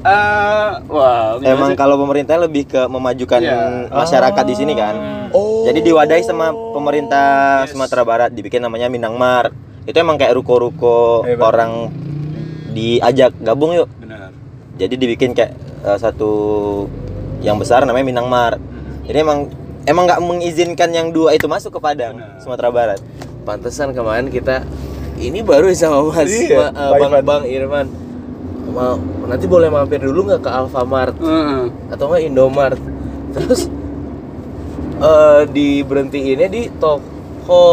Speaker 5: Eh, wah, gimana
Speaker 3: Emang
Speaker 5: sih?
Speaker 3: kalau pemerintah lebih ke memajukan
Speaker 5: Iya. Oh.
Speaker 3: masyarakat di sini kan. Jadi diwadahi sama pemerintah
Speaker 5: Yes.
Speaker 3: Sumatera Barat dibikin namanya Minangmar. Itu emang kayak ruko-ruko
Speaker 4: Hebat.
Speaker 3: orang diajak gabung yuk.
Speaker 5: benar.
Speaker 3: Jadi dibikin kayak eh, satu yang besar namanya Minangmar.
Speaker 5: Hmm.
Speaker 3: Jadi emang emang nggak mengizinkan yang dua itu masuk ke Padang,
Speaker 5: Benar.
Speaker 3: Sumatera Barat.
Speaker 2: Pantesan kemarin kita ini baru ya sama Mas Ma-
Speaker 4: Iya,
Speaker 2: eh,
Speaker 4: Pak
Speaker 2: Bang
Speaker 4: Irfan.
Speaker 2: Bang Irman. Mau nanti boleh mampir dulu nggak ke Alfamart
Speaker 5: Heeh.
Speaker 2: atau nggak Indomart? Terus eh diberhentiinnya di toko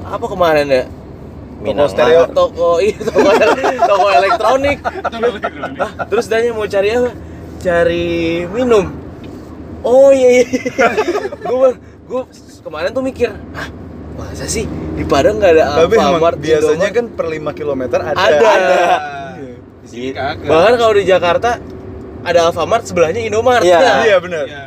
Speaker 2: apa kemarin ya? Toko
Speaker 3: Minangmar.
Speaker 2: stereo, toko iya, toko, toko elektronik. Hah, terus dia mau cari apa? Cari minum. Oh iya iya. gue gue kemarin tuh mikir, ah masa sih di Padang nggak ada
Speaker 4: Tapi emang
Speaker 2: Alfamart,
Speaker 4: biasanya
Speaker 2: Indomart?
Speaker 4: kan per 5 km ada.
Speaker 2: Ada.
Speaker 5: Di sini kagak.
Speaker 2: Bahkan kalau di Jakarta ada Alfamart sebelahnya Indomart.
Speaker 3: Iya.
Speaker 2: Nah,
Speaker 4: Iya benar.
Speaker 5: Iya.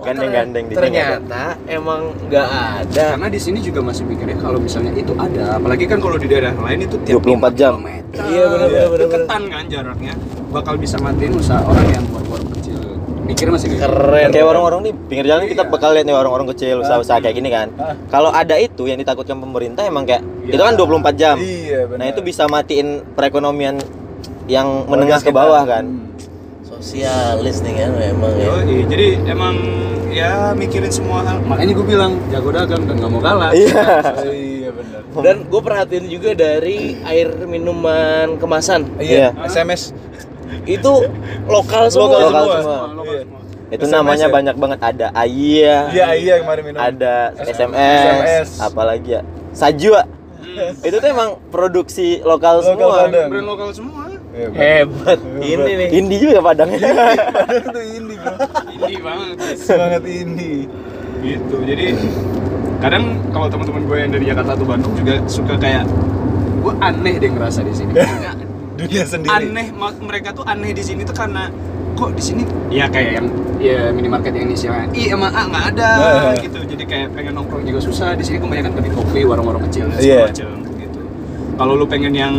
Speaker 2: oh,
Speaker 3: Gandeng-gandeng di
Speaker 2: Ternyata emang nggak ada.
Speaker 5: Karena di sini juga masih mikirnya kalau misalnya itu ada, apalagi kan kalau di daerah lain itu tiap
Speaker 3: 24 jam.
Speaker 5: kilometer.
Speaker 2: Iya, benar,
Speaker 5: Itu
Speaker 2: benar, benar, benar.
Speaker 5: Ketan kan jaraknya. Bakal bisa matiin usaha orang yang buat-buat kecil. Mikir masih kayak gitu.
Speaker 2: Keren.
Speaker 3: Kayak warung-warung di pinggir jalan kita
Speaker 5: Iya.
Speaker 3: bakal lihat nih warung-warung kecil
Speaker 4: Ah.
Speaker 3: usaha-usaha kayak gini kan. Kalau ada itu yang ditakutkan pemerintah emang kayak
Speaker 5: Iya.
Speaker 3: itu kan 24 jam.
Speaker 4: Iya benar.
Speaker 3: Nah, itu bisa matiin perekonomian yang
Speaker 4: Warga
Speaker 3: menengah ke
Speaker 4: sekitar.
Speaker 3: bawah kan.
Speaker 4: Hmm.
Speaker 2: Sosialis nih kan memang ya.
Speaker 5: Yoi, jadi emang ya mikirin semua hal.
Speaker 2: Iya.
Speaker 5: Makanya gue bilang jago dagang dan nggak mau kalah.
Speaker 3: Iya.
Speaker 4: Iya benar.
Speaker 2: Dan gue perhatiin juga dari air minuman kemasan
Speaker 4: Iya,
Speaker 5: Iya.
Speaker 4: SMS.
Speaker 2: itu lokal
Speaker 3: Lokal
Speaker 2: semua.
Speaker 3: semua.
Speaker 5: Lokal
Speaker 4: Iya.
Speaker 5: semua.
Speaker 3: Itu
Speaker 4: SMS
Speaker 3: namanya
Speaker 4: ya?
Speaker 3: banyak banget ada Aya,
Speaker 4: Iya, iya kemarin minum.
Speaker 3: ada
Speaker 4: SMS.
Speaker 3: SMS, apalagi ya. Sajua. Itu tuh emang produksi lokal,
Speaker 4: Hmm. Lokal
Speaker 3: semua.
Speaker 4: Padang.
Speaker 5: Brand lokal semua.
Speaker 4: Iya, benar.
Speaker 2: Hebat. Ini nih.
Speaker 3: Indie juga Padang.
Speaker 4: Iya, Padang tuh ini, Bro.
Speaker 5: Ini banget.
Speaker 4: Semangat ini.
Speaker 5: gitu jadi kadang kalau teman-teman gue yang dari Jakarta atau Bandung juga suka kayak gue aneh deh ngerasa di sini
Speaker 3: Iya,
Speaker 4: Dunia sendiri.
Speaker 5: aneh ma- mereka tuh aneh di sini tuh karena kok di sini ya kayak yang ya minimarket yang inisialnya i emang a nggak ada
Speaker 2: Iya.
Speaker 4: Nah.
Speaker 5: gitu jadi kayak pengen nongkrong juga susah di sini kebanyakan kedai kopi warung-warung kecil dan
Speaker 4: Iya.
Speaker 5: segala macam gitu kalau lu pengen yang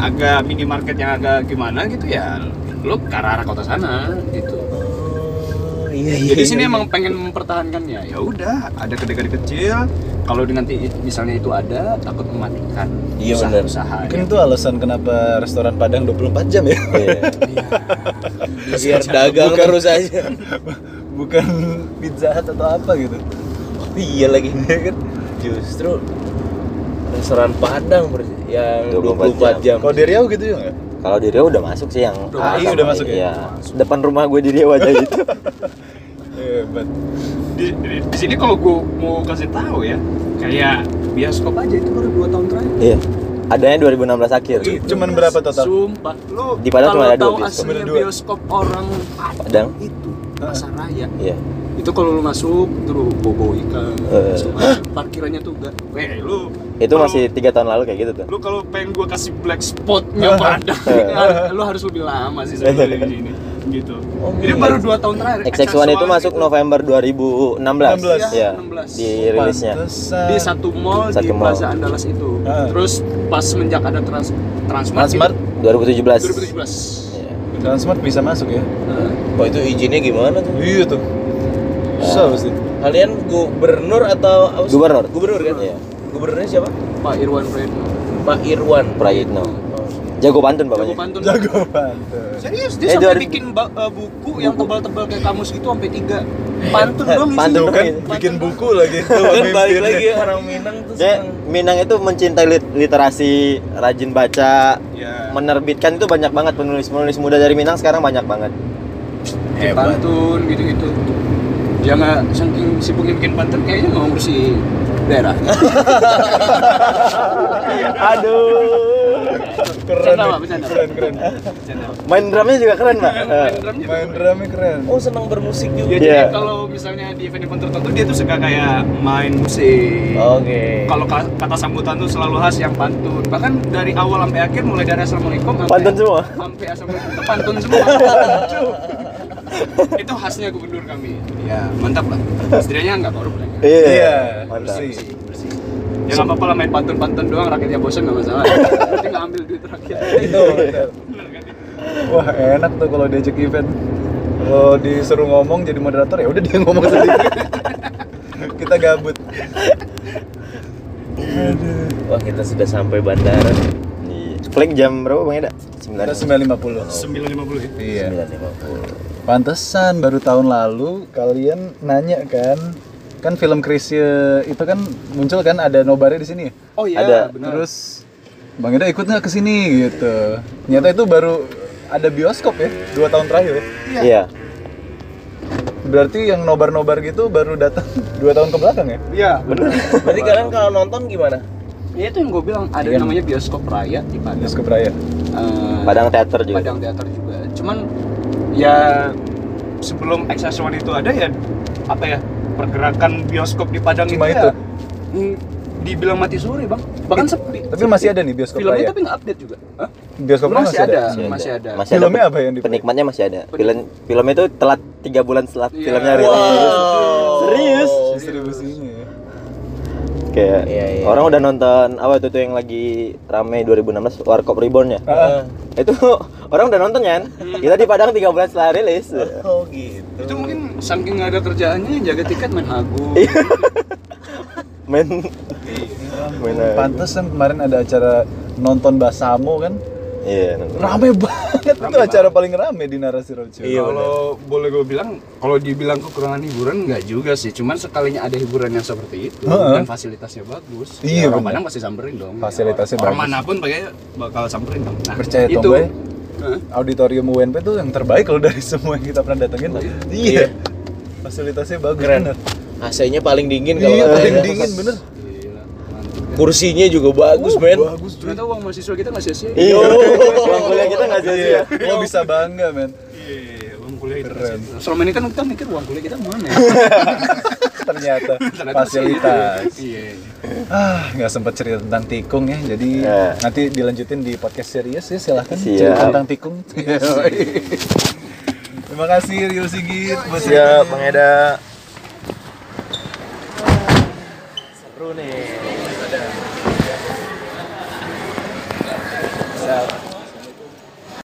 Speaker 5: agak minimarket yang agak gimana gitu ya lu ke arah kota sana gitu
Speaker 2: Oh, iya, iya,
Speaker 5: jadi
Speaker 2: iya,
Speaker 5: sini
Speaker 2: iya.
Speaker 5: emang pengen mempertahankannya. Ya udah, ada kedai-kedai kecil. Kalau di nanti i- misalnya itu ada, takut mematikan
Speaker 2: Iya, benar.
Speaker 5: usaha-usaha.
Speaker 4: Mungkin itu alasan kenapa restoran Padang 24 jam ya.
Speaker 2: biar dagang terus aja.
Speaker 4: Bukan pizza Hut atau apa gitu.
Speaker 2: Oh, iya lagi. Justru restoran Padang berarti yang 24
Speaker 3: 24
Speaker 2: jam.
Speaker 4: Kalau di Riau gitu ya nggak?
Speaker 3: Kalau di Riau udah masuk sih yang
Speaker 5: Udah
Speaker 3: A
Speaker 5: masuk.
Speaker 3: sama
Speaker 4: Udah masuk ya?
Speaker 3: iya. Depan rumah gue di Riau aja gitu.
Speaker 4: Hebat.
Speaker 5: Di, di- di sini kalau gue mau kasih tahu ya, kayak bioskop aja itu baru 2 tahun terakhir.
Speaker 3: Iya. Adanya 2016 akhir.
Speaker 4: Cu- cuman berapa total?
Speaker 5: Sumpah, lu
Speaker 3: Di Padang
Speaker 5: kalau
Speaker 3: cuma ada
Speaker 5: tahu
Speaker 3: dua bioskop.
Speaker 5: aslinya
Speaker 4: Ada dua.
Speaker 5: bioskop orang
Speaker 3: Padang.
Speaker 5: Padang itu pasar raya.
Speaker 3: Iya.
Speaker 5: Itu kalau lu masuk terus bobo ikan,
Speaker 3: Eh.
Speaker 5: semacam. parkirannya tuh enggak. Weh, lu
Speaker 3: Itu
Speaker 5: kalau-
Speaker 3: masih tiga tahun lalu kayak gitu tuh.
Speaker 5: lu kalau pengen gua kasih black spotnya Padang
Speaker 3: Eh.
Speaker 5: har- lu harus lebih lama sih sebenarnya di sini gitu jadi baru dua tahun terakhir
Speaker 3: XX1 itu masuk November 2016.
Speaker 4: 16.
Speaker 3: Iya.
Speaker 5: 16.
Speaker 3: Di rilisnya.
Speaker 4: Pantesan.
Speaker 5: di satu mall di
Speaker 3: Satu mall.
Speaker 5: Plaza Andalas itu
Speaker 4: Ah.
Speaker 5: terus pas menjak ada trans Transmart,
Speaker 4: Transmart,
Speaker 5: itu
Speaker 3: 2017.
Speaker 5: 2017
Speaker 3: Iya.
Speaker 4: Transmart bisa masuk ya?
Speaker 5: Nah,
Speaker 2: Wah, itu izinnya gimana tuh?
Speaker 4: Iya tuh. Susah pasti.
Speaker 2: Kalian gubernur atau apa sih?
Speaker 3: Gubernur.
Speaker 2: Gubernur kan?
Speaker 3: Iya.
Speaker 2: Gubernurnya siapa?
Speaker 5: Pak Irwan Prayitno.
Speaker 2: Pak Irwan
Speaker 3: Prayitno. Jago pantun
Speaker 5: Jago
Speaker 3: bapaknya.
Speaker 5: pantun.
Speaker 4: Jago banget.
Speaker 5: Serius dia
Speaker 3: Eh,
Speaker 5: sampai
Speaker 3: dari-
Speaker 5: bikin ba- eh, buku, yang
Speaker 3: Buku.
Speaker 5: tebal-tebal kayak kamus gitu sampai tiga. Pantun
Speaker 3: Eh,
Speaker 5: dong
Speaker 3: pantun dong.
Speaker 5: isinya.
Speaker 4: Kan bikin buku lagi itu
Speaker 2: Kan balik
Speaker 4: pemimpinnya.
Speaker 2: lagi orang Minang tuh
Speaker 3: Dia
Speaker 2: seneng.
Speaker 3: Minang itu mencintai lit- literasi, rajin baca,
Speaker 5: Iya.
Speaker 3: menerbitkan itu banyak banget penulis-penulis muda dari Minang sekarang banyak banget.
Speaker 5: Kayak
Speaker 4: Hebat.
Speaker 5: Eh, pantun gitu-gitu. Dia nggak saking sibuknya bikin pantun kayaknya nggak ngurusi daerah.
Speaker 3: Aduh.
Speaker 4: Keren,
Speaker 5: Bercanda, Pak, bercanda.
Speaker 4: keren, keren.
Speaker 5: Bercanda.
Speaker 3: Main drumnya juga keren, Pak. Eh,
Speaker 5: Main drumnya
Speaker 4: Main
Speaker 5: tuh.
Speaker 4: drumnya keren.
Speaker 2: Oh senang bermusik
Speaker 5: Ya,
Speaker 2: juga.
Speaker 5: jadi
Speaker 3: Iya.
Speaker 5: kalau misalnya di event-event tertentu dia tuh suka kayak main musik.
Speaker 2: Oke.
Speaker 5: Kalau ka- kata sambutan tuh selalu khas yang pantun. Bahkan dari awal sampai akhir mulai dari assalamualaikum sampai
Speaker 3: Pantun semua?
Speaker 5: Sampai assalamualaikum itu pantun semua. itu khasnya gubernur kami. Ya mantap lah. Setidaknya nggak korup lah. ya.
Speaker 4: Iya,
Speaker 3: Iya. Mantap.
Speaker 4: bersih.
Speaker 5: Bersih. Ya nggak apa-apa lah main pantun-pantun doang rakyatnya bosan nggak masalah. Tapi nggak ambil duit rakyat.
Speaker 4: Itu, betul.
Speaker 5: Bener kan?
Speaker 4: Wah enak tuh kalau diajak event. Kalau disuruh ngomong jadi moderator ya udah dia ngomong sendiri. Kita gabut.
Speaker 2: Wah kita sudah sampai bandara.
Speaker 3: Iya. Flick jam berapa Bang Eda?
Speaker 4: Kita
Speaker 3: 9.
Speaker 4: 9.50.
Speaker 5: 950 ya.
Speaker 4: Iya.
Speaker 2: 9.50.
Speaker 4: Pantesan baru tahun lalu kalian nanya kan kan film Krisye itu kan muncul kan ada nobarnya di sini. ya?
Speaker 5: Oh iya.
Speaker 3: Ada.
Speaker 5: benar.
Speaker 4: Terus Bang Eda ikut nggak ke sini gitu. Nyata itu baru ada bioskop ya dua tahun terakhir.
Speaker 3: Iya.
Speaker 4: Berarti yang nobar-nobar gitu baru datang dua tahun ke belakang ya?
Speaker 5: Iya. Benar.
Speaker 2: Berarti kalian kalau nonton gimana?
Speaker 5: Ya itu yang gue bilang ada
Speaker 4: Iya.
Speaker 5: namanya bioskop rakyat di Padang.
Speaker 4: Bioskop Raya.
Speaker 5: Eh,
Speaker 3: Padang teater juga.
Speaker 5: Padang teater juga. Cuman ya sebelum XS1 itu ada ya apa ya pergerakan bioskop di Padang
Speaker 4: Cuma itu.
Speaker 5: itu, ya hmm, dibilang mati sore bang. Bahkan sepi. ya.
Speaker 4: Tapi masih ada nih bioskop
Speaker 5: Filmnya
Speaker 4: Raya.
Speaker 5: tapi nggak update juga. Hah?
Speaker 4: Bioskopnya masih, ada.
Speaker 5: Masih ada. ya
Speaker 3: Masih ada.
Speaker 4: Filmnya apa yang dipakai?
Speaker 3: Penikmatnya masih ada. Film film itu telat 3 bulan setelah
Speaker 5: Iya.
Speaker 3: filmnya rilis. Serius?
Speaker 4: Distribusinya ya.
Speaker 3: Kayak
Speaker 2: Iya, iya.
Speaker 3: orang udah nonton apa itu tuh yang lagi rame 2016 Warkop Reborn ya?
Speaker 4: Ah,
Speaker 3: Itu orang udah nonton kan? Kita di Padang 3 bulan setelah rilis.
Speaker 2: Oh gitu.
Speaker 5: Itu mungkin saking nggak ada kerjaannya jaga tiket main hagu.
Speaker 3: Main
Speaker 5: Iya,
Speaker 3: main aja.
Speaker 4: Pantesan kemarin ada acara nonton Basamo kan.
Speaker 3: Iya. nonton.
Speaker 4: Rame banget. itu acara paling rame di Narasi Roadshow.
Speaker 5: Iya. kalau boleh gue bilang, kalau dibilang kekurangan hiburan nggak juga sih. Cuman sekalinya ada hiburan yang seperti itu
Speaker 4: Heeh.
Speaker 5: dan fasilitasnya bagus, Ya,
Speaker 4: Iya,
Speaker 5: orang
Speaker 4: bener.
Speaker 5: Padang pasti samperin dong.
Speaker 4: Fasilitasnya
Speaker 5: orang
Speaker 4: bagus.
Speaker 5: manapun pakai bakal samperin dong. Nah,
Speaker 4: Percaya ya?
Speaker 5: itu.
Speaker 4: Tomboy.
Speaker 5: Heeh.
Speaker 4: Auditorium UNP tuh yang terbaik loh dari semua yang kita pernah datengin.
Speaker 5: Iya.
Speaker 4: Iya. Fasilitasnya bagus
Speaker 2: Keren.
Speaker 4: bener.
Speaker 2: AC-nya paling dingin kalau
Speaker 4: Iya,
Speaker 2: katanya.
Speaker 4: paling dingin bener.
Speaker 5: Gila, mantep.
Speaker 2: Kursinya juga bagus, men.
Speaker 4: Bagus cuy.
Speaker 5: Ternyata uang mahasiswa kita nggak sia-sia.
Speaker 3: Iya. Uang kuliah kita nggak sia-sia.
Speaker 4: Iya. Lo bisa bangga, men.
Speaker 5: Iya, uang kuliah kita
Speaker 4: Keren.
Speaker 5: nggak sia-sia. Selama ini kan kita mikir uang kuliah kita mana? ya?
Speaker 4: Ternyata
Speaker 5: Ternyata
Speaker 4: fasilitas.
Speaker 5: sih. Iya.
Speaker 4: Ah, nggak sempat cerita tentang tikung ya. Jadi
Speaker 3: Ya.
Speaker 4: nanti dilanjutin di podcast serius ya. Silahkan
Speaker 3: Siap.
Speaker 4: cerita tentang tikung. Terima kasih Rio Sigit. buat
Speaker 3: Siap,
Speaker 4: ceritanya.
Speaker 3: Bang Eda.
Speaker 2: Seru nih.